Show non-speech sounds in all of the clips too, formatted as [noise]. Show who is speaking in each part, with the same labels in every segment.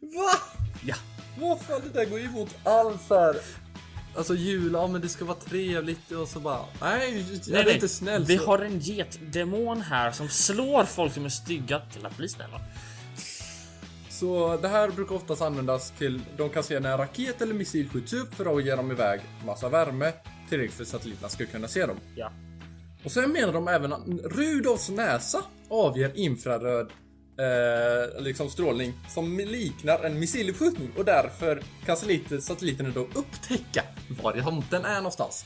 Speaker 1: Va?
Speaker 2: Ja.
Speaker 1: Vad fan, det där går ju emot all så här...
Speaker 3: Alltså jul, ja men det ska vara trevligt och så bara... Nej, jag
Speaker 2: Nej,
Speaker 3: är
Speaker 2: nej.
Speaker 3: inte snäll.
Speaker 2: Vi
Speaker 3: så-
Speaker 2: har en getdemon här som slår folk som är stygga till att bli snälla.
Speaker 1: Så det här brukar oftast användas till, de kan se när en raket eller missil skjuts upp för att ge dem iväg massa värme tillräckligt för att satelliterna ska kunna se dem.
Speaker 2: Ja.
Speaker 1: Och sen menar de även att Rudolfs näsa avger infraröd eh, liksom strålning som liknar en missiluppskjutning och därför kan satelliter- satelliterna då upptäcka var i tomten är någonstans.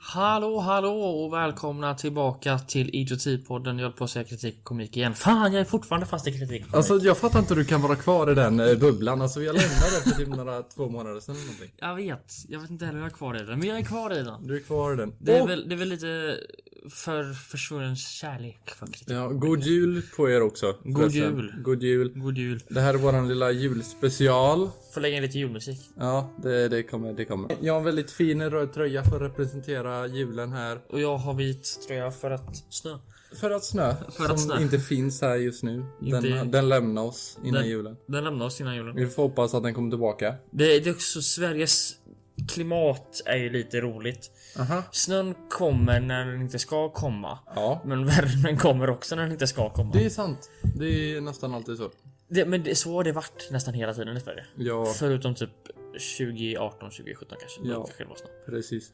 Speaker 2: Hallå, hallå och välkomna tillbaka till Idiotipodden. Jag höll på att säga kritik och komik igen. Fan, jag är fortfarande fast i kritik och komik.
Speaker 1: Alltså jag fattar inte hur du kan vara kvar i den eh, bubblan, alltså jag lämnade den för typ några två månader sedan eller någonting.
Speaker 2: Jag vet, jag vet inte heller hur jag är kvar i den, men jag är kvar i den.
Speaker 1: Du är kvar i den.
Speaker 2: Det är,
Speaker 3: Oh!
Speaker 1: Och-
Speaker 2: väl, det är väl lite för försvunnen kärlek för kritik.
Speaker 1: Ja, god jul på er också.
Speaker 2: God
Speaker 1: förresten.
Speaker 2: jul.
Speaker 1: God jul.
Speaker 2: God jul.
Speaker 1: Det här är våran lilla julspecial.
Speaker 2: Får lägga in lite julmusik.
Speaker 1: Ja, det, det kommer, det kommer. Jag har en väldigt fin röd tröja för att representera julen här.
Speaker 2: Och jag har vit tröja för att snö.
Speaker 1: För att snö,
Speaker 2: För att
Speaker 1: som
Speaker 2: snö.
Speaker 1: inte finns här just nu. Den,
Speaker 2: Inte-
Speaker 1: den lämnar oss innan
Speaker 2: Den-
Speaker 1: julen.
Speaker 2: Den lämnar oss innan julen.
Speaker 1: Vi får hoppas att den kommer tillbaka.
Speaker 2: Det, det är också Sveriges klimat är ju lite roligt.
Speaker 1: Aha.
Speaker 2: Snön kommer när den inte ska komma.
Speaker 1: Ja.
Speaker 2: Men [laughs] värmen kommer också när den inte ska komma.
Speaker 1: Det är sant. Det är nästan alltid så.
Speaker 2: Det, men det, så har det varit nästan hela tiden i Sverige.
Speaker 1: Ja,
Speaker 2: Förutom typ 2018, 2017 kanske.
Speaker 1: Ja.
Speaker 2: Då kanske det var snö.
Speaker 1: precis.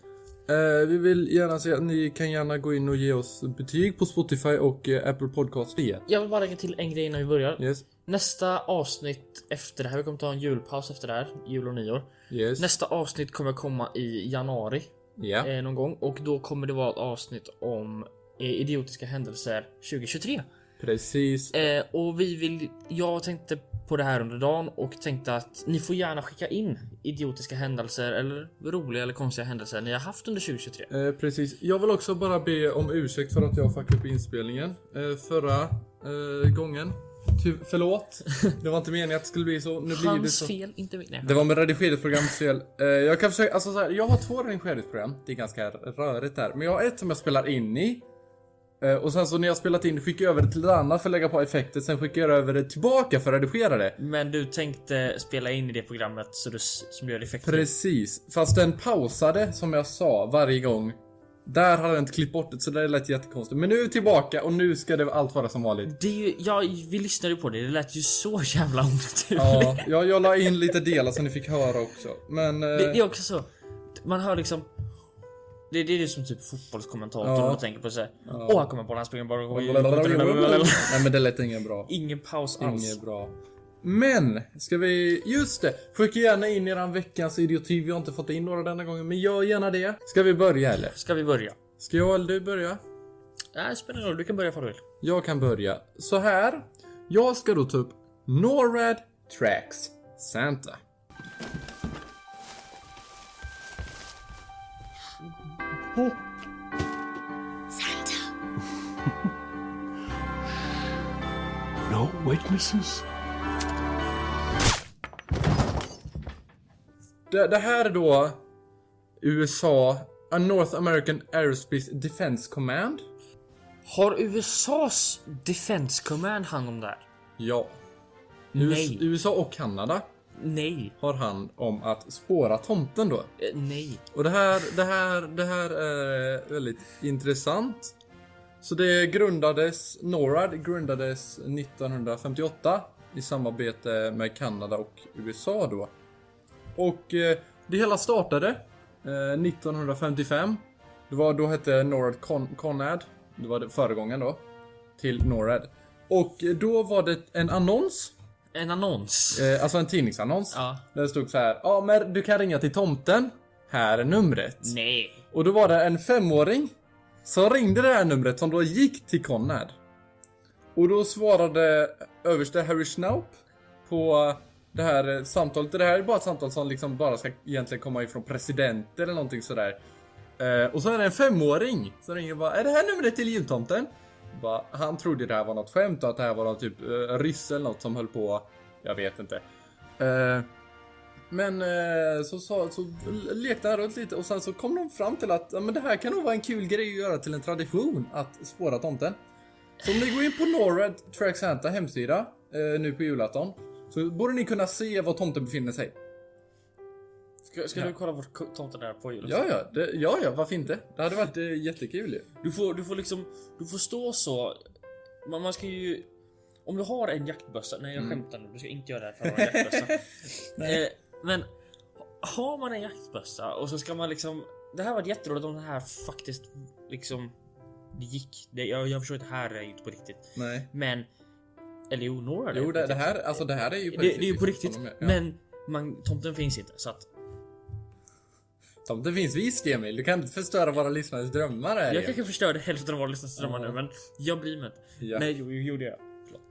Speaker 1: Eh, vi vill gärna säga att ni kan gärna gå in och ge oss betyg på Spotify och eh, Apple Podcast.
Speaker 2: Jag vill bara lägga till en grej innan vi börjar.
Speaker 1: Yes.
Speaker 2: Nästa avsnitt efter det här, vi kommer ta en julpaus efter det här, jul och nyår.
Speaker 1: Yes.
Speaker 2: Nästa avsnitt kommer komma i januari
Speaker 1: Ja.
Speaker 2: eh, någon gång och då kommer det vara ett avsnitt om eh, idiotiska händelser 2023.
Speaker 1: Precis.
Speaker 2: Eh, och vi vill, jag tänkte på det här under dagen och tänkte att ni får gärna skicka in idiotiska händelser eller roliga eller konstiga händelser ni har haft under 2023.
Speaker 1: Eh, precis. Jag vill också bara be om ursäkt för att jag fuckade upp inspelningen eh, förra eh, gången. Ty- förlåt.
Speaker 2: [laughs]
Speaker 1: Det var inte meningen att det skulle bli så. Nu blir det
Speaker 2: Hans
Speaker 1: så.
Speaker 2: fel, inte mitt. Nej.
Speaker 1: Det var med redigeringsprogrammets fel. Eh, jag kan försöka, alltså så här, jag har två redigeringsprogram. Det är ganska rörigt där. Men jag har ett som jag spelar in i. Eh, och sen så när jag spelat in skickar jag över det till ett annat för att lägga på effekter. Sen skickar jag över det tillbaka för att redigera det.
Speaker 2: Men du tänkte spela in i det programmet så du, s- som gör effekter.
Speaker 1: Precis. Fast den pausade, som jag sa, varje gång. Där hade jag inte klippt bort det, så det lät jättekonstigt. Men nu är vi tillbaka och nu ska det allt vara som vanligt.
Speaker 2: Det är ju, ja, vi lyssnade ju på det, det lät ju så jävla [laughs] onaturligt.
Speaker 1: Ja, eh. jag, jag la in lite delar som ni fick höra också. Men... eh,
Speaker 2: Det, det är också så. Man hör liksom... Det, det är det som typ fotbollskommentatorn
Speaker 1: Ja.
Speaker 2: och tänker på såhär. Åh, han kommer på han springer bara...
Speaker 1: Nej men det lät inget bra.
Speaker 2: Ingen paus alls.
Speaker 1: Inget bra. Men, ska vi... Just det! Skicka gärna in eran veckans idioti. Vi har inte fått in några denna gången, men gör gärna det. Ska vi börja eller?
Speaker 2: Ska vi börja?
Speaker 1: Ska jag eller du börja?
Speaker 2: Nej, spelar ingen roll. Du kan börja ifall du vill.
Speaker 1: Jag kan börja. Så här. Jag ska då ta upp NORAD Tracks Santa.
Speaker 4: [laughs] No witnesses?
Speaker 1: Det, det här är då USA, A North American Aerospace Defense Command.
Speaker 2: Har USAs Defense Command hand om det här?
Speaker 1: Ja. US,
Speaker 2: Nej.
Speaker 1: USA och Kanada
Speaker 2: Nej.
Speaker 1: har hand om att spåra tomten då.
Speaker 2: Eh, nej.
Speaker 1: Och det här, det här, det här är väldigt intressant. Så det grundades, NORAD grundades 1958 i samarbete med Kanada och USA då. Och eh, det hela startade eh, 1955. Det var, då hette NORAD Con- Conad, det var det föregångaren då, till NORAD. Och eh, då var det en annons,
Speaker 2: En annons.
Speaker 1: eh, alltså en tidningsannons.
Speaker 2: Ja.
Speaker 1: Där det stod så här, ja men du kan ringa till tomten, här är numret.
Speaker 2: Nej.
Speaker 1: Och då var det en femåring som ringde det här numret som då gick till Conrad. Och då svarade överste Harry Schnapp på det här eh, samtalet. Det här är bara ett samtal som liksom bara ska egentligen komma ifrån presidenter eller någonting sådär. Eh, och så är det en femåring som ringer och bara Är det här numret till jultomten? bara, han trodde det här var något skämt och att det här var någon typ eh, rysse eller något som höll på. Jag vet inte. Eh, men eh, så, så, så lekte han runt lite och sen så kom de fram till att ja, men det här kan nog vara en kul grej att göra till en tradition att spåra tomten. Så om ni går in på Norred Track Santa hemsida eh, nu på julafton så borde ni kunna se var tomten befinner sig.
Speaker 2: Ska, ska du kolla vart ko- tomten är på julen?
Speaker 1: Ja, ja, det, ja, ja, varför inte? Det hade varit eh, jättekul ju.
Speaker 2: Du får, du får liksom, du får stå så. Man, man ska ju... Om du har en jaktbössa, nej
Speaker 1: Mm.
Speaker 2: jag skämtar nu, du ska inte göra det här för att ha en jaktbössa.
Speaker 1: [laughs]
Speaker 2: eh, men har man en jaktbössa och så ska man liksom... Det här var jätteroligt om det här faktiskt liksom... Det gick. Det, jag, jag förstår att det här är ju inte på riktigt.
Speaker 1: Nej.
Speaker 2: Men... Eller jo, några är
Speaker 1: Jo,
Speaker 2: på
Speaker 1: det, det
Speaker 2: riktigt.
Speaker 1: här, alltså det här är ju på
Speaker 2: det, det är ju på
Speaker 1: liksom,
Speaker 2: riktigt.
Speaker 1: som de är. Ja.
Speaker 2: Men man, tomten finns inte. Så att
Speaker 1: Tomten finns visst Emil, du kan inte förstöra våra lyssnares drömmar här
Speaker 2: Jag
Speaker 1: ju.
Speaker 2: kanske förstörde hälften av våra lyssnarströmmar nu,
Speaker 1: Ja.
Speaker 2: men jag blir med.
Speaker 1: Ja.
Speaker 2: Nej, jo, jo, gjorde jag. Förlåt.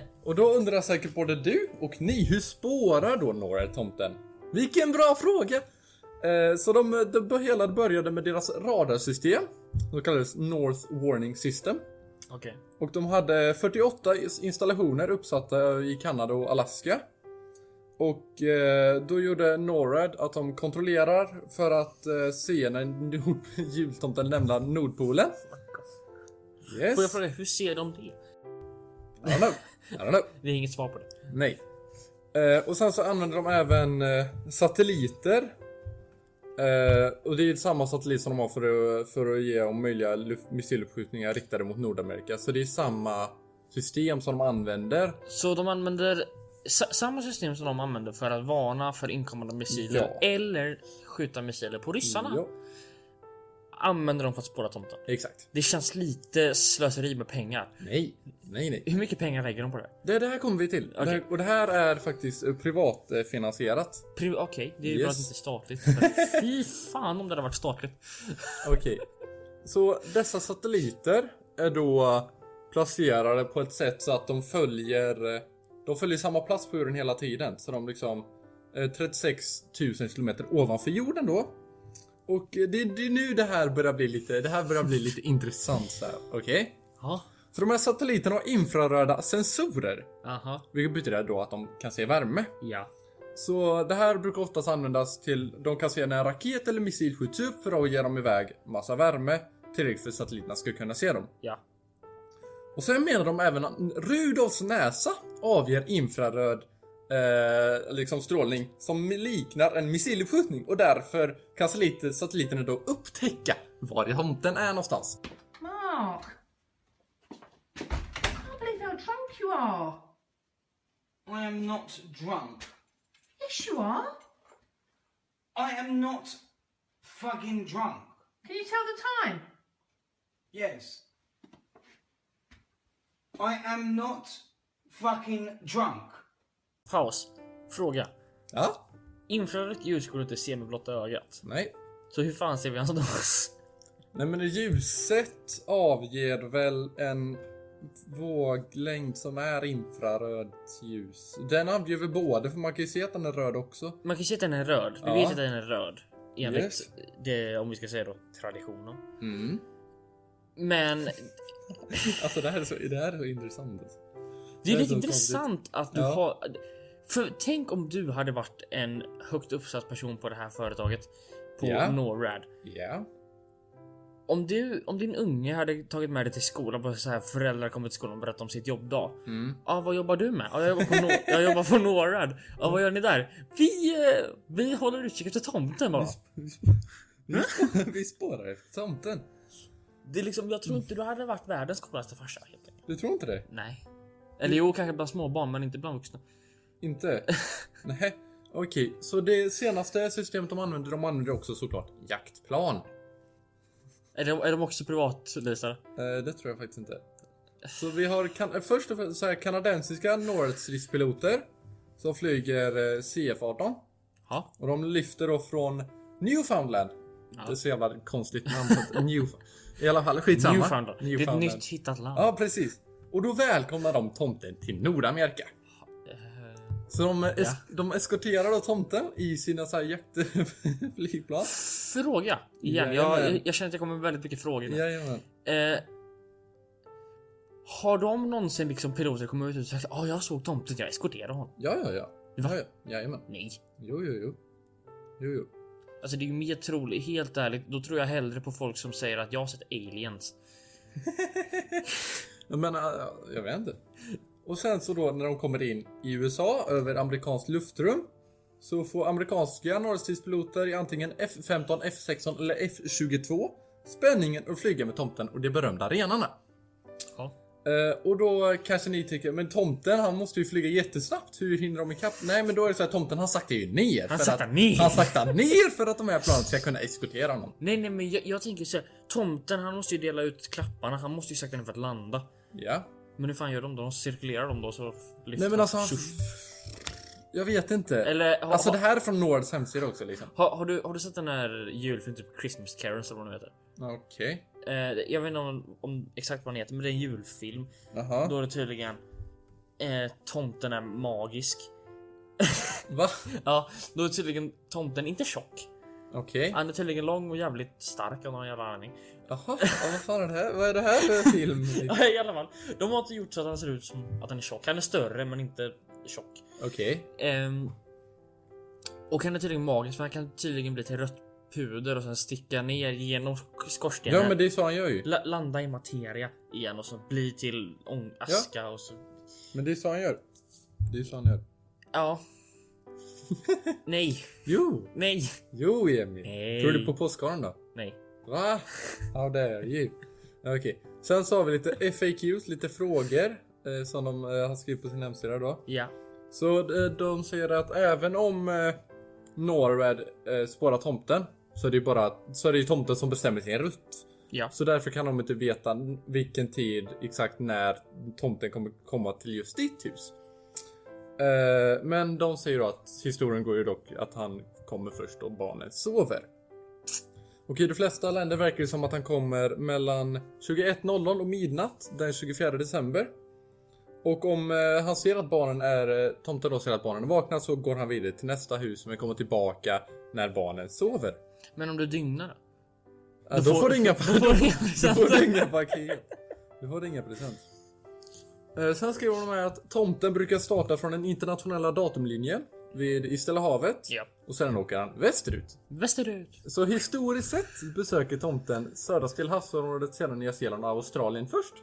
Speaker 2: Eh,
Speaker 1: Och då undrar säkert både du och ni, hur spårar då Norra tomten? Vilken bra fråga! Eh, så de, de, hela började med deras radarsystem. De kallades North Warning System.
Speaker 2: Okej.
Speaker 1: Och de hade 48 installationer uppsatta i Kanada och Alaska. Och eh, då gjorde NORAD att de kontrollerar för att eh, se när nord- [laughs] jultomten lämnar Nordpolen. Yes.
Speaker 2: Får jag fråga, hur ser de det?
Speaker 1: I don't know. I don't know.
Speaker 2: Vi har inget svar på det.
Speaker 1: Nej. Eh, och sen så använder de även eh, satelliter. Eh, och det är samma satellit som de har för att, för att ge om möjliga luft- missiluppskjutningar riktade mot Nordamerika. Så det är samma system som de använder.
Speaker 2: Så de använder sa- samma system som de använder för att varna för inkommande missiler
Speaker 1: Ja.
Speaker 2: eller skjuta missiler på ryssarna.
Speaker 1: Ja,
Speaker 2: Använder de för att spåra tomten.
Speaker 1: exakt.
Speaker 2: Det känns lite slöseri med pengar.
Speaker 1: Nej, nej, nej.
Speaker 2: Hur mycket pengar lägger de på det?
Speaker 1: Det, det här kommer vi till.
Speaker 2: Okej.
Speaker 1: Det här, och det här är faktiskt eh, privatfinansierat.
Speaker 2: Pri- Okej, det är ju bra att det
Speaker 1: Yes.
Speaker 2: inte är statligt.
Speaker 1: [laughs]
Speaker 2: Men Fy fan om det hade varit statligt.
Speaker 1: Okej. [laughs] Så dessa satelliter är då placerade på ett sätt så att de följer eh, de följer samma plats på jorden hela tiden. Så de liksom eh, 36 000 kilometer ovanför jorden då. Och eh, det, det är nu det här börjar bli lite, det här börjar bli lite [laughs] intressant så här. Okej?
Speaker 2: Ja,
Speaker 1: Så de här satelliterna har infraröda sensorer.
Speaker 2: aha,
Speaker 1: Vilket betyder då att de kan se värme.
Speaker 2: ja.
Speaker 1: Så det här brukar oftast användas till, de kan se när en raket eller missil skjuts upp för att ge dem iväg massa värme tillräckligt för att satelliterna ska kunna se dem.
Speaker 2: Ja.
Speaker 1: Och sen menar de även att Rudolfs näsa avger infraröd eh, liksom strålning som liknar en missiluppskjutning och därför kan satelliter- satelliterna då upptäcka var i tomten är någonstans.
Speaker 5: Mark! I can't believe how drunk you are.
Speaker 6: I am not drunk.
Speaker 5: Yes, you are.
Speaker 6: I am not fucking drunk.
Speaker 5: Can you tell the time?
Speaker 6: Yes. I am not fucking drunk.
Speaker 2: Paus. Fråga.
Speaker 1: Ja,
Speaker 2: Infrarött ljus går inte att se med blotta ögat.
Speaker 1: nej.
Speaker 2: Så hur fan ser vi hans dans?
Speaker 1: Nej men ljuset avger väl en våglängd som är infrarött ljus. Den avger väl både, för man kan ju se att den är röd också.
Speaker 2: Man kan se att den är röd. Vi
Speaker 1: Ja.
Speaker 2: vet att den är röd. Enligt
Speaker 1: Yes.
Speaker 2: det, om vi ska säga då, traditionen.
Speaker 1: Mm.
Speaker 2: Men
Speaker 1: Alltså det här är så, det här är så intressant. Alltså.
Speaker 2: det
Speaker 1: Det
Speaker 2: är
Speaker 1: är
Speaker 2: lite
Speaker 1: så
Speaker 2: intressant att du
Speaker 1: Ja.
Speaker 2: har... För tänk om du hade varit en högt uppsatt person på det här företaget. På
Speaker 1: Ja.
Speaker 2: NORAD.
Speaker 1: Ja.
Speaker 2: Om, du, om din unge hade tagit med dig till skolan på så här föräldrar kommer till skolan och berättar om sitt jobbdag.
Speaker 1: Mm.
Speaker 2: Ja, ah, vad jobbar du med? Ah, jag jobbar på, no- jag jobbar på NORAD. Ja, ah, vad gör ni där? Vi, eh, vi håller utkik efter tomten bara.
Speaker 1: Vi spårar- [laughs] Vi spårar efter tomten.
Speaker 2: Det är liksom, jag tror inte du hade varit världens coolaste farsa helt enkelt.
Speaker 1: Du tror inte det?
Speaker 2: Nej. Eller jo, kanske bland småbarn, men inte bland vuxna.
Speaker 1: [laughs] Inte? Nej. Okej, så det senaste systemet de använder, de använder också såklart jaktplan.
Speaker 2: Är de, är de också privatleasare?
Speaker 1: Eh, det tror jag faktiskt inte. Så vi har kan- eh, först och främst så här kanadensiska Northridge-piloter som flyger eh, CF-18
Speaker 2: Ja.
Speaker 1: och de lyfter då från Newfoundland. Det är så jävla konstigt namn. så att New... [laughs] I alla fall, skitsamma.
Speaker 2: Newfoundland. Det är
Speaker 1: Newfoundland.
Speaker 2: ett nytt hittat land.
Speaker 1: Ja, precis. Och då välkomnar de tomten till Nordamerika.
Speaker 2: Eh,
Speaker 1: Så de, es- de eskorterar då tomten i sina så här jaktflygplan.
Speaker 2: Fråga igen. Jag,
Speaker 1: Jajamän.
Speaker 2: jag känner att jag kommer med väldigt mycket frågor nu.
Speaker 1: Jajamän.
Speaker 2: Eh, Har de någonsin liksom piloter kommit ut och sagt ja, jag såg tomten, jag eskorterade honom.
Speaker 1: Ja, ja, ja.
Speaker 2: Va?
Speaker 1: ja, ja. Jajamän.
Speaker 2: Nej,
Speaker 1: Jo, jo, jo. Jo, jo.
Speaker 2: alltså det är ju mer troligt. Helt ärligt, då tror jag hellre på folk som säger att jag har sett aliens.
Speaker 1: Men äh, jag vet inte. Och sen så då när de kommer in i USA över amerikanskt luftrum så får amerikanska norrstridspiloter i antingen F15, F16 eller F22 spänningen att flyga med tomten och de berömda renarna.
Speaker 2: Ja.
Speaker 1: Eh, och då kanske ni tycker, men tomten han måste ju flyga jättesnabbt, hur hinner de ikapp? Nej men då är det så här, tomten han saktar ju ner. för
Speaker 2: saktar
Speaker 1: att,
Speaker 2: ner.
Speaker 1: Han saktar ner för att de här planen ska kunna eskortera honom.
Speaker 2: Nej, nej, men jag, jag tänker så här. Tomten, han måste ju dela ut klapparna. Han måste ju sakta ner för att landa.
Speaker 1: Ja.
Speaker 2: Men hur fan gör de då? De cirkulerar dem då så lyfter
Speaker 1: Nej men
Speaker 2: de.
Speaker 1: alltså han...
Speaker 2: Tjoff.
Speaker 1: Jag vet inte.
Speaker 2: Eller har,
Speaker 1: Alltså det här är från Nords hemsida också liksom.
Speaker 2: har, har, du, har du sett den här julfilmen typ Christmas Carols eller vad den heter?
Speaker 1: Okej.
Speaker 2: Eh, jag vet inte om, om exakt vad den heter, men det är en julfilm.
Speaker 1: Jaha.
Speaker 2: Då är det tydligen eh, tomten är magisk.
Speaker 1: Va?
Speaker 2: Ja, då är tydligen tomten inte tjock.
Speaker 1: Okej.
Speaker 2: Han är tydligen lång och jävligt stark av någon jävla anledning. [laughs]
Speaker 1: Jaha, ja, vad fan är det här? Vad är det här för film?
Speaker 2: I alla fall, de har inte gjort så att han ser ut som att han är tjock. Han är större men inte tjock.
Speaker 1: Okej.
Speaker 2: Ehm, och han är tydligen magisk för han kan tydligen bli till rött puder och sen sticka ner genom skorstenen.
Speaker 1: Ja men det är så han gör ju.
Speaker 2: La- landa i materia igen och så bli till ång- aska och så...
Speaker 1: Men det är så han gör. Det är så han gör. [laughs]
Speaker 2: Ja. nej,
Speaker 1: Jo!
Speaker 2: nej,
Speaker 1: Jo Emil.
Speaker 2: Nej.
Speaker 1: Tror du på påskaren då?
Speaker 2: nej.
Speaker 1: Va? How dare you? Okej. Sen så har vi lite FAQs, lite frågor. Eh, som de eh, har skrivit på sin hemsida då.
Speaker 2: Ja,
Speaker 1: Så eh, de säger att även om eh, Norred eh, spårar tomten så är det ju bara så är det ju tomten som bestämmer sin rutt.
Speaker 2: ja.
Speaker 1: Så därför kan de inte veta n- vilken tid exakt när tomten kommer komma till just ditt hus. Eh, men de säger då att historien går ju dock att han kommer först och barnen sover. Och i de flesta länder verkar det som att han kommer mellan 21.00 och midnatt den 24 december. Och om eh, han ser att barnen är, eh, tomten då ser att barnen är vakna så går han vidare till nästa hus men kommer tillbaka när barnen sover.
Speaker 2: Men om du dygnar då?
Speaker 1: Ja, då, får du inga [laughs]
Speaker 2: [laughs] Då får du inga
Speaker 1: du får
Speaker 2: presenter.
Speaker 1: ringa paket. Du får ringa present. Eh, Sen skriver de här att tomten brukar starta från den internationella datumlinjen vid i Stilla havet
Speaker 2: Ja.
Speaker 1: och sen åker han västerut.
Speaker 2: Västerut.
Speaker 1: Så historiskt sett besöker tomten södra Stillahavsområdet, sedan Nya Zeeland och Australien först.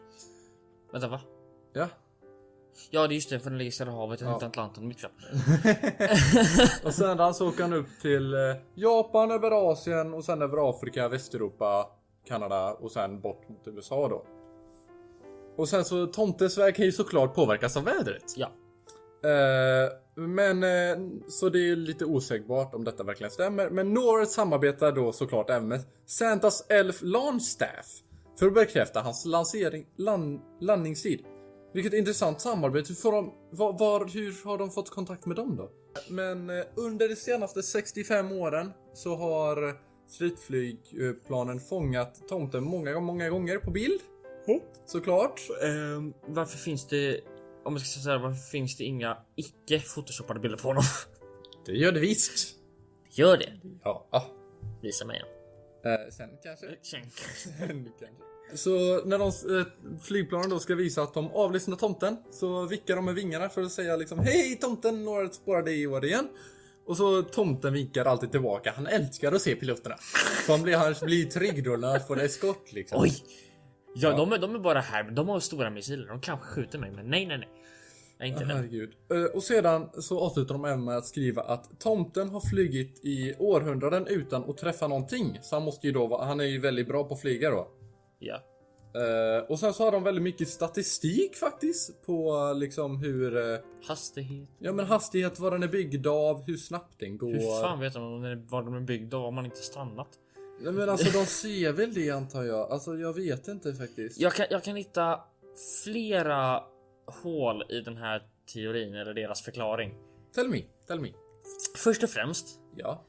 Speaker 2: Vänta, va?
Speaker 1: Ja.
Speaker 2: Ja, det är just det, för den ligger i Stilla havet. Jag
Speaker 1: Ja.
Speaker 2: ja. Atlanten mitt framför.
Speaker 1: Och sedan så åker han upp till eh, Japan, över Asien och sen över Afrika, Västeuropa, Kanada och sen bort mot USA då. Och sen så tomtens väg kan ju såklart påverkas av vädret.
Speaker 2: Ja.
Speaker 1: Eh, men eh, så det är ju lite osägbart om detta verkligen stämmer. Men Norris samarbetar då såklart även med Santas Elf Launch Staff för att bekräfta hans lansering, lan, landningstid. Vilket intressant samarbete. Hur, får de, var, var, hur har de fått kontakt med dem då? Men eh, under de senaste 65 åren så har stridflygplanen fångat tomten många, många gånger på bild. Såklart.
Speaker 2: Ehm, varför finns det... Om jag ska säga varför finns det inga icke photoshoppade bilder på honom?
Speaker 1: Det gör det visst.
Speaker 2: [laughs] Gör det.
Speaker 1: Ja. ah.
Speaker 2: Visa mig en.
Speaker 1: Eh, sen kanske.
Speaker 2: Tjänk.
Speaker 1: [laughs] Så när de, eh, flygplanen då ska visa att de avlyssnar tomten så vickar de med vingarna för att säga liksom Hej tomten, några spårade i år igen. Och så tomten vinkar alltid tillbaka. Han älskar att se piloterna. Så han blir, han blir trygg då när han får en eskort liksom.
Speaker 2: Oj! Ja, De, är, de är bara här, men de har stora missiler. De kanske skjuter mig, men nej, nej, nej. Nej, inte nu.
Speaker 1: Herregud. Eh, Och sedan så avslutar de även med att skriva att tomten har flugit i århundraden utan att träffa någonting. Så han måste ju då vara, han är ju väldigt bra på att flyga då.
Speaker 2: Ja.
Speaker 1: Eh, och sen så har de väldigt mycket statistik faktiskt på eh, liksom hur, eh,
Speaker 2: Hastighet.
Speaker 1: ja men hastighet, vad den är byggd av, hur snabbt den går.
Speaker 2: Hur fan vet man om den är- var de är byggda och om man inte stannat?
Speaker 1: Nej men alltså de ser väl det antar jag, alltså jag vet inte faktiskt.
Speaker 2: Jag kan, jag kan hitta flera hål i den här teorin eller deras förklaring.
Speaker 1: Tell me, tell me.
Speaker 2: Först och främst,
Speaker 1: Ja.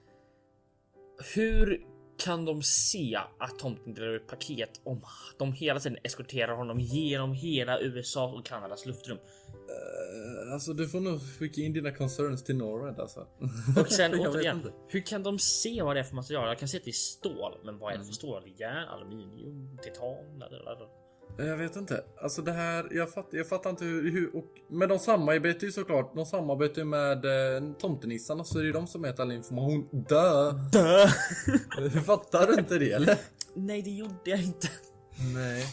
Speaker 2: hur kan de se att tomten delar ut paket om de hela tiden eskorterar honom genom hela USA och Kanadas luftrum?
Speaker 1: Eh, Alltså du får nog skicka in dina concerns till Norred alltså.
Speaker 2: Och sen
Speaker 1: [laughs] Jag vet
Speaker 2: återigen,
Speaker 1: inte.
Speaker 2: hur kan de se vad det är för Mm. material? Jag kan se att det är stål, men vad är det för stål? Järn, aluminium, titan? Blablabla.
Speaker 1: Eh, Jag vet inte. Alltså det här, jag, fatt, jag fattar inte hur... hur och, men de samarbetar ju såklart. De samarbetar ju med eh, tomtenissarna så det är ju de som äter all information. Dö!
Speaker 2: Dö!
Speaker 1: fattar [laughs] du inte det eller?
Speaker 2: Nej, det gjorde jag inte.
Speaker 1: Nej.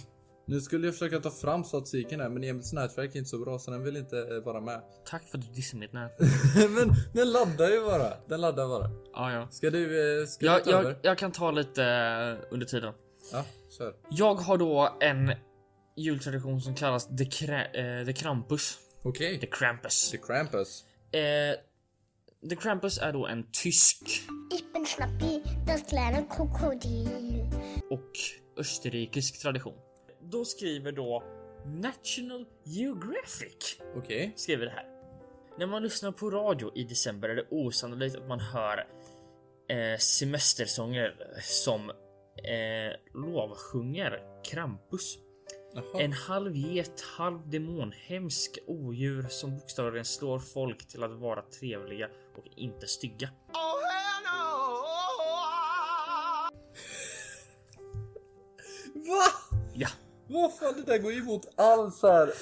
Speaker 1: Nu skulle jag försöka ta fram statistiken här men Emils nätverk är inte så bra så den vill inte eh, vara med.
Speaker 2: Tack för att du dissade mitt nät.
Speaker 1: [laughs] men den laddar ju bara. Den laddar bara.
Speaker 2: Ja, ja.
Speaker 1: Ska du... eh, Ska
Speaker 2: Jag,
Speaker 1: du ta
Speaker 2: jag,
Speaker 1: över?
Speaker 2: jag kan ta lite eh, under tiden.
Speaker 1: Ja, kör.
Speaker 2: Jag har då en jultradition som kallas The, Kra- eh, The Krampus.
Speaker 1: Okej.
Speaker 2: The Krampus.
Speaker 1: The Krampus.
Speaker 2: Eh, The Krampus är då en tysk
Speaker 7: Ich bin Schnappi, das kleine Krokodil.
Speaker 2: och österrikisk tradition. Då skriver då National Geographic
Speaker 1: Okej.
Speaker 2: skriver det här. När man lyssnar på radio i december är det osannolikt att man hör eh, semestersånger som eh, lovsjunger Krampus.
Speaker 1: Jaha.
Speaker 2: En halv get, halv demon, hemsk odjur som bokstavligen slår folk till att vara trevliga och inte stygga.
Speaker 1: Va?
Speaker 2: Ja,
Speaker 1: Vad fan, det där går ju emot all så här.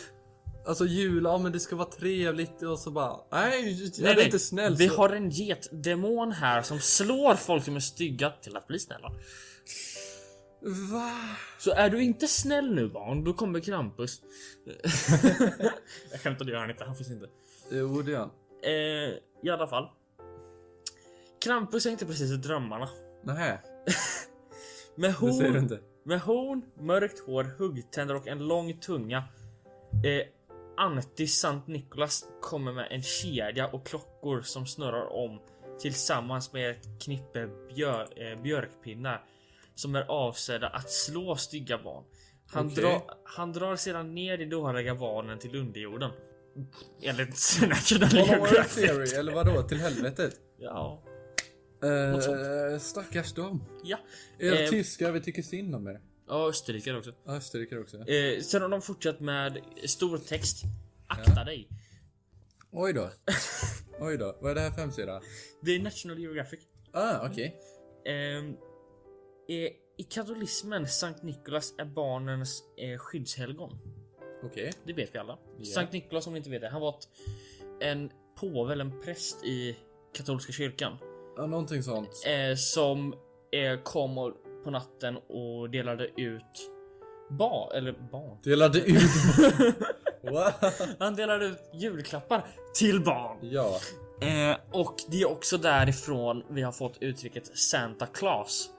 Speaker 1: Alltså jul, ja men det ska vara trevligt och så bara... Nej, jag är inte snäll.
Speaker 2: Vi
Speaker 1: så...
Speaker 2: har en getdemon här som slår folk som är stygga till att bli snälla.
Speaker 1: Va?
Speaker 2: Så är du inte snäll nu barn, då kommer Krampus. [laughs] jag skämtar, det gör han inte. Han finns inte.
Speaker 1: Jo, det är han.
Speaker 2: Eh, I alla fall. Krampus är inte precis i drömmarna.
Speaker 1: Nähä,
Speaker 2: Med
Speaker 1: det säger du
Speaker 2: horn,
Speaker 1: inte.
Speaker 2: med horn, mörkt hår, huggtänder och en lång tunga. Eh, Anti Sankt Nikolas kommer med en kedja och klockor som snurrar om tillsammans med ett knippe björ, eh, björkpinnar som är avsedda att slå stygga barn. Han,
Speaker 1: Okej.
Speaker 2: drar- han drar sedan ner de dåliga barnen till underjorden. Enligt National
Speaker 1: Hollow Earth
Speaker 2: Geographic.
Speaker 1: Theory, eller vadå? Till helvetet?
Speaker 2: Ja. Något
Speaker 1: Eh, stackars dem.
Speaker 2: Ja.
Speaker 1: Er
Speaker 2: Eh,
Speaker 1: tyskar, vi tycker synd om er.
Speaker 2: Ja, österrikare också.
Speaker 1: Ja, Österrike också. ja.
Speaker 2: Eh, sen har de fortsatt med stor text. Akta dig.
Speaker 1: Oj
Speaker 2: [laughs]
Speaker 1: då. Oj då. Vad är det här för hemsida?
Speaker 2: Det är National Geographic.
Speaker 1: Ah, okej.
Speaker 2: Ehm, eh, I katolismen, Sankt Nikolas är barnens eh, skyddshelgon.
Speaker 1: Okej.
Speaker 2: Det vet vi alla. Sankt Nikolas, om ni inte vet det, han var ett, en påve eller en präst i katolska kyrkan.
Speaker 1: Ja, någonting sånt.
Speaker 2: Eh, som eh, kom och, på natten och delade ut barn, eller barn.
Speaker 1: Delade ut.
Speaker 2: [laughs]
Speaker 1: Wow.
Speaker 2: Han delade ut julklappar till barn.
Speaker 1: Ja.
Speaker 2: Eh, och det är också därifrån vi har fått uttrycket Santa Claus.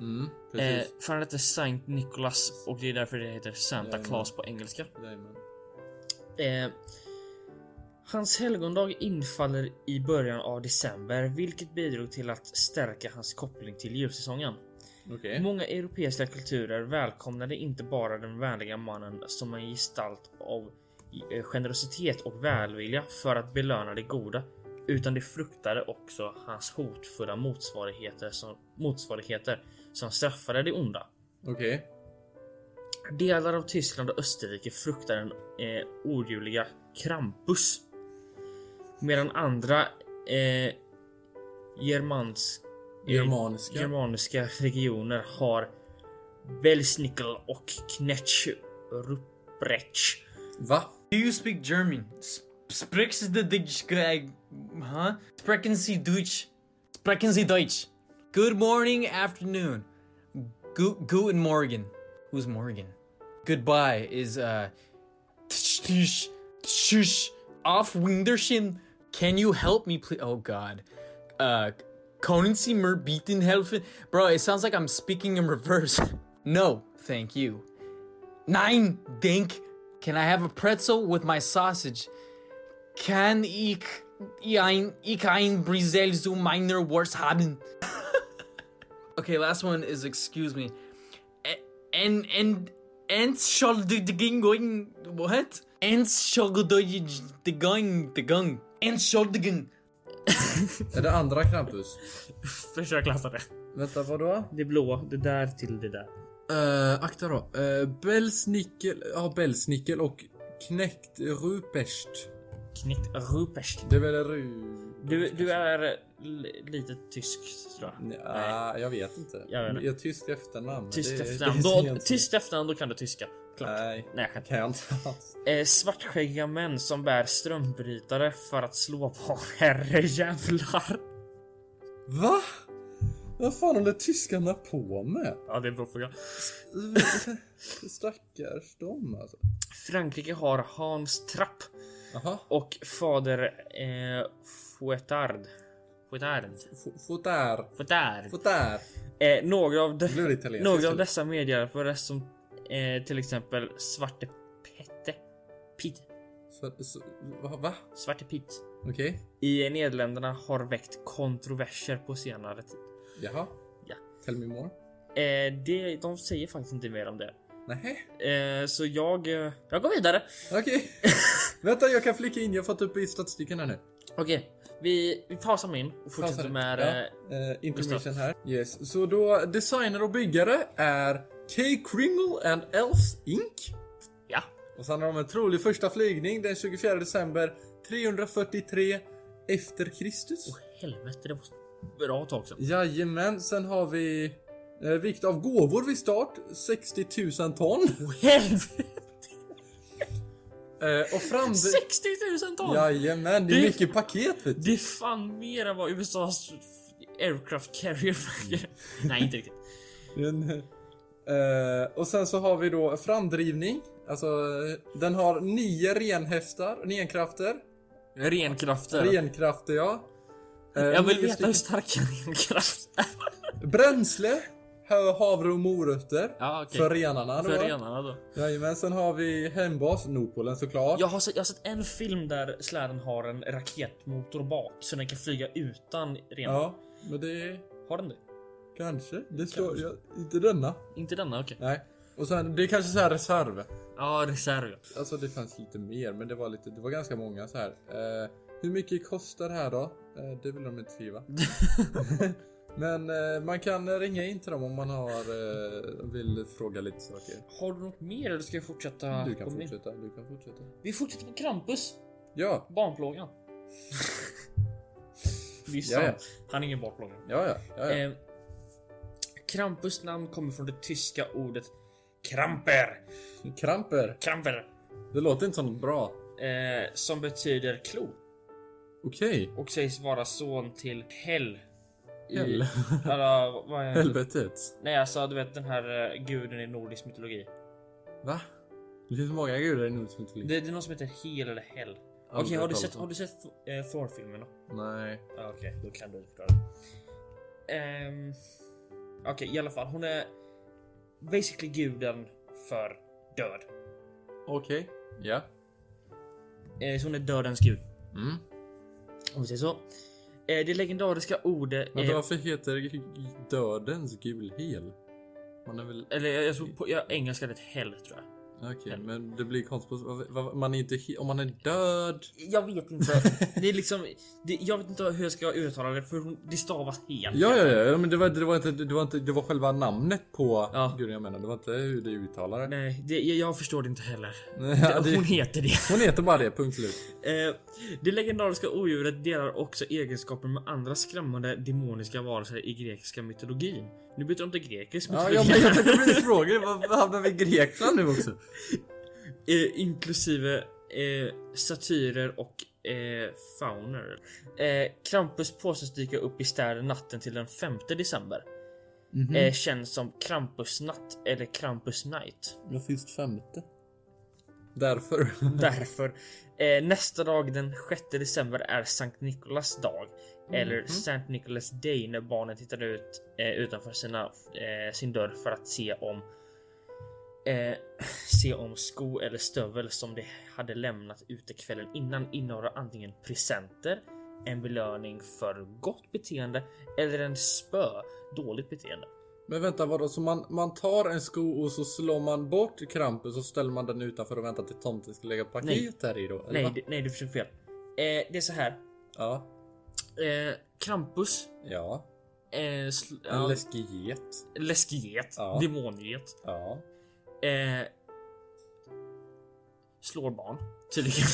Speaker 1: Mm,
Speaker 2: Eh,
Speaker 1: precis.
Speaker 2: för han heter Sankt Nicholas och det är därför det heter Santa
Speaker 1: Jajamän.
Speaker 2: Claus på engelska.
Speaker 1: Jajamän.
Speaker 2: Eh, hans helgondag infaller i början av december, vilket bidrog till att stärka hans koppling till julsäsongen.
Speaker 1: Okej.
Speaker 2: Många europeiska kulturer välkomnade inte bara den vänliga mannen som en gestalt av eh, generositet och välvilja för att belöna det goda, utan de fruktade också hans hotfulla motsvarigheter som, motsvarigheter som straffade det onda.
Speaker 1: Okej.
Speaker 2: Delar av Tyskland och Österrike fruktar den eh, odjuliga Krampus. Medan andra eh, germans, eh,
Speaker 1: Germaniska.
Speaker 2: germaniska regioner har Belsnickel och Knetsch Ruprecht.
Speaker 1: Va?
Speaker 8: Do you speak German? Sp- Sprichst du Deutsch? Greg? Huh? Sprechen Sie Deutsch? Sprechen Sie Deutsch? Good morning, afternoon. Gu- Guten Morgen. Who's Morgan? Goodbye is, uh. tsch, tsch, tsch, Auf Winderschen. Can you help me, please? Oh, God. Uh. Können Sie mir bieten helfen? Bro, it sounds like I'm speaking in reverse. [laughs] No, thank you. Nein, Dink. Can I have a pretzel with my sausage? Can ich, ein, ich ein Brisel zu meiner Wurst haben? [laughs] okay, last one is excuse me. E- En, en, Entschuldigung, what? Entschuldigung, the gung, Entschuldigung.
Speaker 1: Är det andra Krampus?
Speaker 2: Försök läsa det.
Speaker 1: Vänta, vadå?
Speaker 2: Det blåa, det där till det där.
Speaker 1: Uh, akta då. Uh, Belsnickel, ja Belsnickel och knäckt Rupest.
Speaker 2: Knett Ruprecht.
Speaker 1: Det är väl Ru...
Speaker 2: Du, du är eh, li- lite tysk tror
Speaker 1: Mm,
Speaker 2: jag.
Speaker 1: Nja, jag vet inte.
Speaker 2: Jag vet inte.
Speaker 1: Jag är tysk efternamn.
Speaker 2: Tyst
Speaker 1: Det-
Speaker 2: efternamn.
Speaker 1: det är
Speaker 2: Då,
Speaker 1: helt-
Speaker 2: tyst efternamn, då kan du tyska. Självklart.
Speaker 1: Nej,
Speaker 2: Nej, jag skämtar.
Speaker 1: kan jag inte alls.
Speaker 2: Eh, svartskäggiga män som bär strömbrytare för att slå på [laughs] herrejävlar.
Speaker 1: Va? Vad fan håller tyskarna på med?
Speaker 2: [laughs] Ja, det är en bra fråga.
Speaker 1: Stackars dem alltså.
Speaker 2: Frankrike har Hans Trapp
Speaker 1: Jaha.
Speaker 2: och fader eh, Fouettard. Fouettard.
Speaker 1: F- Fotär.
Speaker 2: Fouettard.
Speaker 1: Fotär.
Speaker 2: Eh, några av, de,
Speaker 1: Blir det italienskt?
Speaker 2: några av dessa medhjälpare som eh, till exempel Svarte Pette. Pitt.
Speaker 1: Så- så- Va? va?
Speaker 2: Svarte Pitt.
Speaker 1: Okej.
Speaker 2: I Nederländerna har väckt kontroverser på senare tid.
Speaker 1: Jaha.
Speaker 2: Ja.
Speaker 1: Tell me more.
Speaker 2: Eh, det, de säger faktiskt inte mer om det.
Speaker 1: Nej.
Speaker 2: Eh, så jag, eh, jag går vidare.
Speaker 1: Okej. [laughs] Vänta, jag kan flika in. Jag har fått upp i statistiken här nu.
Speaker 2: Okej, vi, vi pausar in och fortsätter
Speaker 1: Pausar.
Speaker 2: med...
Speaker 1: Ja.
Speaker 2: eh,
Speaker 1: Eh, intermission här. Yes. Så då, designer och byggare är K. Kringle and Elves Inc.
Speaker 2: Ja.
Speaker 1: Och sen har de en trolig första flygning den 24 december 343 efter Kristus.
Speaker 2: Helvete, det var ett bra tag sedan.
Speaker 1: Jajamän, sen har vi eh, vikt av gåvor vid start, 60 000 ton.
Speaker 2: Helvete!
Speaker 1: Eh, och fram...
Speaker 2: 60 000 ton!
Speaker 1: Jajamän, det
Speaker 2: Det-
Speaker 1: är mycket paket vet
Speaker 2: Det
Speaker 1: du.
Speaker 2: är fan mer än vad USAs aircraft carrier
Speaker 1: Mm.
Speaker 2: väger. Nej, inte riktigt.
Speaker 1: Den, eh, och sen så har vi då framdrivning. Alltså, eh, den har nio renhäftar, renkrafter.
Speaker 2: Renkrafter.
Speaker 1: Renkrafter, ja. Eh,
Speaker 2: Jag vill
Speaker 1: nio
Speaker 2: veta hur
Speaker 1: stycken-
Speaker 2: starka renkrafter är.
Speaker 1: Bränsle, hö- havre och morötter.
Speaker 2: Ja, okej.
Speaker 1: För renarna då.
Speaker 2: För renarna då.
Speaker 1: Jajamän, sen har vi hembas, Nordpolen såklart.
Speaker 2: Jag har, sett, jag har sett en film där släden har en raketmotor bak så den kan flyga utan renar.
Speaker 1: ja men det...
Speaker 2: Har den det?
Speaker 1: Kanske. Det står... Jag, inte denna.
Speaker 2: Inte denna, okej.
Speaker 1: Nej. Och sen, det är kanske så här reserv.
Speaker 2: Ja, reserv.
Speaker 1: Alltså det fanns lite mer, men det var lite, det var ganska många så här. Eh, hur mycket kostar det här då? Eh, det vill de inte
Speaker 2: [laughs]
Speaker 1: skriva. men eh, man kan ringa in till dem om man har, eh, vill fråga lite saker.
Speaker 2: Har du något mer eller ska jag fortsätta?
Speaker 1: Du kan
Speaker 2: Kom in.
Speaker 1: fortsätta, du kan fortsätta.
Speaker 2: Vi fortsätter på Krampus,
Speaker 1: Ja, [laughs]
Speaker 2: barnplågan. Det är sant.
Speaker 1: Ja, ja.
Speaker 2: Han är ingen barnplåga.
Speaker 1: ja, ja. ja, ja.
Speaker 2: Eh, Krampus namn kommer från det tyska ordet Kramper.
Speaker 1: Kramper.
Speaker 2: Kramper.
Speaker 1: Det låter inte som något bra.
Speaker 2: Eh, som betyder klo
Speaker 1: Okej.
Speaker 2: och sägs vara son till Hell.
Speaker 1: [laughs]
Speaker 2: I-
Speaker 1: Hell.
Speaker 2: Eller, vad är
Speaker 1: Helvetet.
Speaker 2: Nej, alltså du vet den här eh, guden i nordisk mytologi.
Speaker 1: Va? Det finns många gudar i nordisk mytologi.
Speaker 2: Det, det är någon som heter Hel eller Hell. Okej,
Speaker 1: Aldrig
Speaker 2: har,
Speaker 1: hört
Speaker 2: du
Speaker 1: talas
Speaker 2: sett-
Speaker 1: om.
Speaker 2: har du sett eh, Thor-filmerna?
Speaker 1: Nej.
Speaker 2: Ja, Okej, då kan du förklara. Um, Okej, i alla fall. Hon är basically guden för död.
Speaker 1: Okej. Ja.
Speaker 2: Eh, så hon är dödens gud.
Speaker 1: Mm.
Speaker 2: Om vi säger så. Eh, det legendariska ordet
Speaker 1: Vänta,
Speaker 2: är...
Speaker 1: varför heter det g- dödens gul hel? Man är väl...
Speaker 2: Eller jag, jag tror på jag, engelska är det hell tror jag.
Speaker 1: Okej, men det blir konstigt. Vad- vad- Man är inte... he- Om man är död...
Speaker 2: Jag vet inte. [laughs] det är liksom... Det, jag vet inte hur jag ska uttala det för hon, det stavas hel.
Speaker 1: Ja, ja, ja, ja, men det var, det var inte... Det var inte... Det var själva namnet på
Speaker 2: Ja.
Speaker 1: guden jag menade. Det var inte hur det uttalades.
Speaker 2: Nej, det, jag, jag förstår det inte heller.
Speaker 1: [laughs] Ja,
Speaker 2: Hon
Speaker 1: det...
Speaker 2: heter det.
Speaker 1: Hon heter bara det, punkt slut.
Speaker 2: Eh, det legendariska odjuret delar också egenskaper med andra skrämmande demoniska varelser i grekiska mytologin. Nu byter de till grekisk
Speaker 1: Ja,
Speaker 2: [laughs] mytologi.
Speaker 1: jag, jag tänkte precis fråga dig, varför hamnar vi i Grekland nu också?
Speaker 2: eh, inklusive eh, satyrer och eh, fauner. Eh, Krampus påstås dyka upp i städer natten till den 5 december.
Speaker 1: Mhm.
Speaker 2: Eh, känns som Krampusnatt eller Krampus night.
Speaker 1: Jag finns femte. Därför.
Speaker 2: Därför. Eh, nästa dag den 6 december är Sankt Nikolas dag. Eller Saint Nicholas Day när barnen tittar ut eh, utanför sina, eh, sin dörr för att se om eh, [laughs] se om sko eller stövel som de hade lämnat ute kvällen innan innehåller antingen presenter, en belöning för gott beteende eller en spö, dåligt beteende.
Speaker 1: Men vänta vadå, så man, man tar en sko och så slår man bort Krampus och ställer man den utanför och väntar till tomten ska lägga paket där i då? eller
Speaker 2: Nej,
Speaker 1: va?
Speaker 2: det, nej, du försöker fel. Eh, det är så här.
Speaker 1: Ja.
Speaker 2: Eh, Krampus
Speaker 1: Ja.
Speaker 2: eh, sl-
Speaker 1: En
Speaker 2: ja,
Speaker 1: läskig get.
Speaker 2: läskighet,
Speaker 1: Ja.
Speaker 2: demonget,
Speaker 1: Ja.
Speaker 2: eh, slår barn.
Speaker 1: [laughs]
Speaker 2: Tydligen.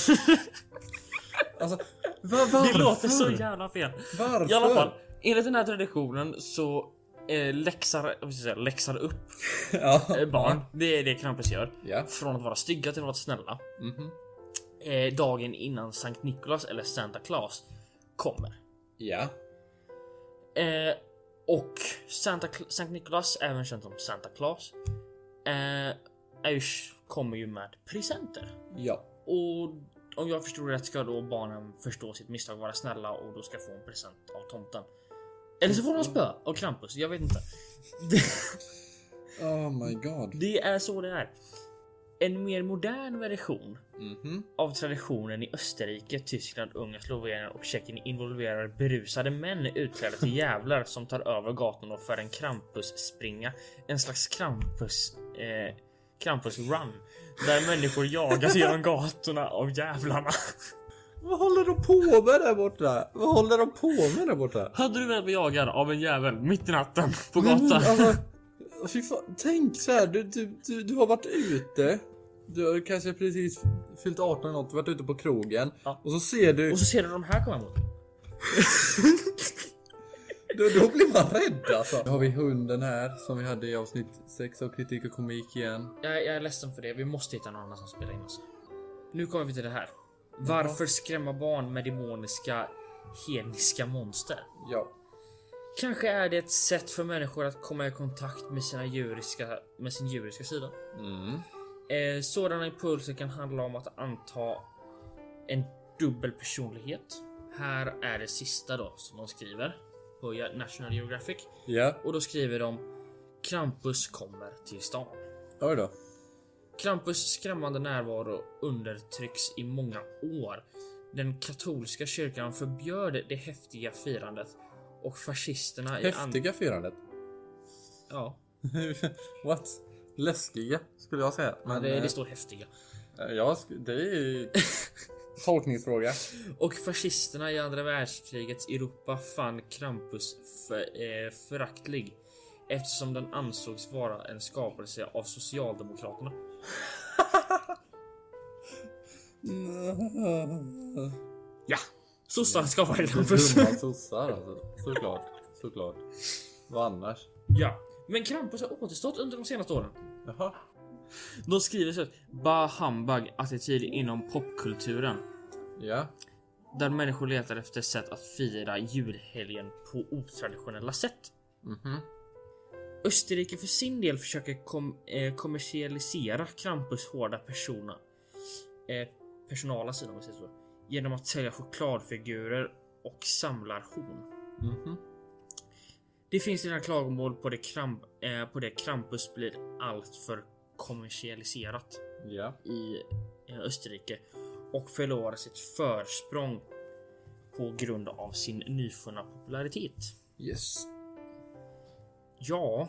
Speaker 1: Alltså, va,
Speaker 2: det
Speaker 1: varför?
Speaker 2: låter så jävla fel.
Speaker 1: Varför?
Speaker 2: I alla fall, enligt den här traditionen så eh, läxar, vad ska jag säga, läxar upp
Speaker 1: Ja.
Speaker 2: eh, barn. Det är det Krampus gör.
Speaker 1: Ja.
Speaker 2: Från att vara stygga till att vara snälla.
Speaker 1: Mhm.
Speaker 2: Eh, dagen innan Sankt Nikolaus eller Santa Claus kommer.
Speaker 1: Ja.
Speaker 2: Eh, och Santa, Cl- Sankt Nikolaus, även känd som Santa Claus, eh, är ju, kommer ju med presenter.
Speaker 1: Ja.
Speaker 2: Och om jag förstod rätt ska då barnen förstå sitt misstag och vara snälla och då ska få en present av tomten. Eller så får de spö av Krampus, jag vet inte. [laughs] Det,
Speaker 1: Oh my god.
Speaker 2: det är så det är. En mer modern version
Speaker 1: Mhm.
Speaker 2: av traditionen i Österrike, Tyskland, Ungern, Slovenien och Tjeckien involverar berusade män utklädda till djävlar som tar över gatorna och för en Krampus-springa. En slags Krampus... Eh, Krampus-run. Där människor jagas genom gatorna av [laughs] djävlarna.
Speaker 1: Vad håller de på med där borta? Vad håller de på med där borta?
Speaker 2: Hade du väl blivit jagad av en jävel mitt i natten på
Speaker 1: Nej, men,
Speaker 2: gatan?
Speaker 1: alltså, fy fan, tänk så här, du, du, du, du har varit ute. Du har kanske precis fyllt 18 eller något, varit ute på krogen.
Speaker 2: Ja.
Speaker 1: Och så ser du,
Speaker 2: Och så ser du de här komma emot.
Speaker 1: då, då blir man rädd alltså. Nu har vi hunden här som vi hade i avsnitt 6 av kritik och komik igen.
Speaker 2: Jag, jag är ledsen för det, vi måste hitta någon annan som spelar in oss. Nu kommer vi till det här. Varför skrämma barn med demoniska, hedniska monster?
Speaker 1: Ja.
Speaker 2: Kanske är det ett sätt för människor att komma i kontakt med, sina djuriska, med sin djuriska sida.
Speaker 1: Mm.
Speaker 2: Eh, sådana impulser kan handla om att anta en dubbel personlighet. Här är det sista då som de skriver på National Geographic.
Speaker 1: Ja,
Speaker 2: Och då skriver de Krampus kommer till stan.
Speaker 1: oj då.
Speaker 2: Krampus skrämmande närvaro undertrycks i många år. Den katolska kyrkan förbjöd det häftiga firandet och fascisterna i and-
Speaker 1: Häftiga firandet. [laughs]
Speaker 2: Ja,
Speaker 1: What? Läskiga skulle jag säga. Men
Speaker 2: det,
Speaker 1: eh,
Speaker 2: det står häftiga.
Speaker 1: ja, sk- det
Speaker 2: [laughs]
Speaker 1: är tolkningsfråga. [laughs]
Speaker 2: Och fascisterna i andra världskrigets Europa fann Krampus för, eh, föraktlig eftersom den ansågs vara en skapelse av Socialdemokraterna. Ja, sossarna skapade Krampus.
Speaker 1: Dumma sossar alltså. Såklart. Såklart. Vad annars?
Speaker 2: [laughs] Ja, men Krampus har återstått under de senaste åren.
Speaker 1: Jaha.
Speaker 2: De skriver så att Bah Humbug attityd inom popkulturen
Speaker 1: Ja.
Speaker 2: där människor letar efter sätt att fira julhelgen på otraditionella sätt.
Speaker 1: Mhm.
Speaker 2: Österrike för sin del försöker kom, eh, kommersialisera Krampus hårda persona, eh, personala sida om man säger så, genom att sälja chokladfigurer och samlarhorn.
Speaker 1: Mhm.
Speaker 2: Det finns redan klagomål på det, kramp, eh, på det Krampus blir allt för kommersialiserat
Speaker 1: Ja.
Speaker 2: i eh, Österrike och förlorar sitt försprång på grund av sin nyfunna popularitet.
Speaker 1: Yes.
Speaker 2: Ja,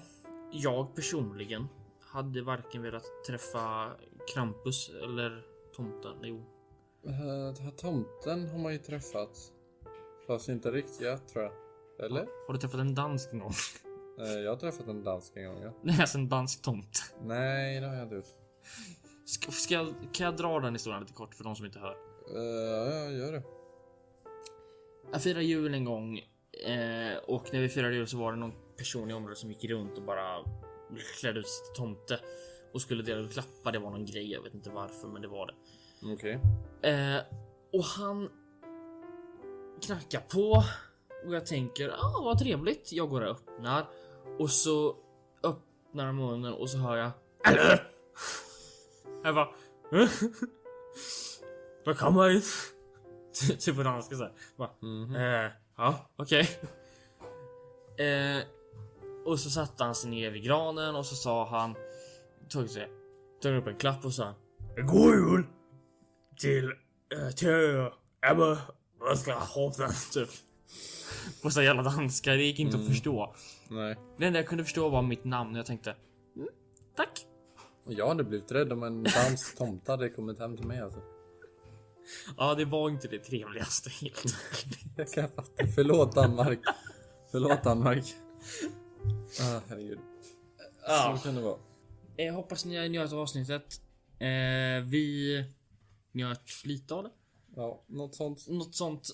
Speaker 2: jag personligen hade varken velat träffa Krampus eller tomten. Jo,
Speaker 1: Uh, tomten har man ju träffat. Fast inte riktiga tror jag. Eller?
Speaker 2: har du träffat en dansk någon? [laughs]
Speaker 1: Eh, jag har träffat en dansk en gång ja.
Speaker 2: Nej, alltså en dansk tomt.
Speaker 1: Nej, det har jag inte gjort.
Speaker 2: Ska, ska, jag- kan jag dra den historien lite kort för de som inte hört?
Speaker 1: Eh, ja, jag gör det.
Speaker 2: Jag firade jul en gång eh, och när vi firade jul så var det någon person i området som gick runt och bara klädde ut sig till tomte och skulle dela ut klappar. Det var någon grej, jag vet inte varför, men det var det.
Speaker 1: Okej.
Speaker 2: Eh, och han knackar på och jag tänker ah, vad trevligt. Jag går och öppnar och så öppnar han munnen och så hör jag Hallå! Jag bara "Eh? Välkommen hit. Ty- [laughs] typ på danska såhär.
Speaker 1: Mhm.
Speaker 2: Eh, ja, okej. Eh, och så satte han sig ner vid granen och så sa han... Tog, sig, tog upp en klapp och sa... God jul! Till... eh, Till... Ebbe... Jag ska ha den, typ. På så jävla danska, det gick inte att förstå.
Speaker 1: Nej.
Speaker 2: Det enda jag kunde förstå var mitt namn och jag tänkte... "Mm, Tack!
Speaker 1: Och Jag hade blivit rädd om en dansk [laughs] tomte hade kommit hem till mig alltså.
Speaker 2: Ja, det var inte det trevligaste helt.
Speaker 1: Jag kan fatta. Förlåt Danmark. Förlåt Danmark. Ah, herregud.
Speaker 2: Ja.
Speaker 1: Så kan det vara.
Speaker 2: Eh, Jag hoppas ni njöt av avsnittet. Eh, vi njöt lite av det.
Speaker 1: Ja, något sånt.
Speaker 2: Något sånt.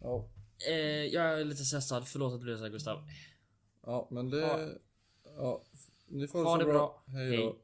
Speaker 1: Ja.
Speaker 2: Eh, jag är lite stressad. Förlåt att du är så här, Gustav.
Speaker 1: Ja, men det...
Speaker 3: Ha-
Speaker 1: Ja, ni får
Speaker 3: Ha
Speaker 1: så
Speaker 3: det bra.
Speaker 1: Hej då.
Speaker 2: Hej.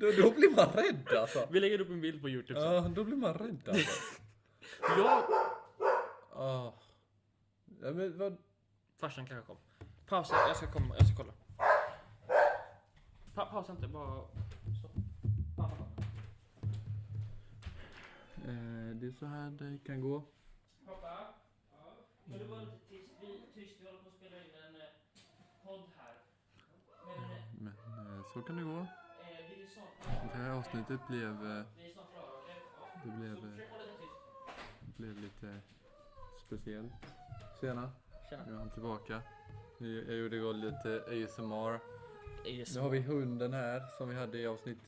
Speaker 1: Då, då blir man rädd alltså.
Speaker 2: Vi lägger upp en bild på Youtube sen.
Speaker 1: Ja, då blir man
Speaker 3: [laughs]
Speaker 1: rädd alltså.
Speaker 2: Jag...
Speaker 1: Ah. Ja, men vad...
Speaker 2: Farsan kanske kom. Pausa, jag ska komma, jag ska kolla. Pa pausa inte, bara... stopp. Pa- pa- pa.
Speaker 1: Eh, det är så här det kan gå.
Speaker 2: Pappa? Ja? Kan du vara lite tyst? Vi, tyst, vi håller på att spela in en eh, podd här. Men
Speaker 1: Men eh, så kan det gå.
Speaker 2: eh, vi är snart
Speaker 1: Det här avsnittet blev... eh,
Speaker 2: Vi är snart klara, okej? Ja.
Speaker 1: Det blev,
Speaker 2: Så
Speaker 1: eh,
Speaker 2: försök hålla dig tyst.
Speaker 1: blev lite speciellt. Tjena.
Speaker 2: Tjena.
Speaker 1: Nu är han tillbaka. Jag jag gjorde igår lite ASMR.
Speaker 2: Yes.
Speaker 1: Nu har vi hunden här som vi hade i avsnitt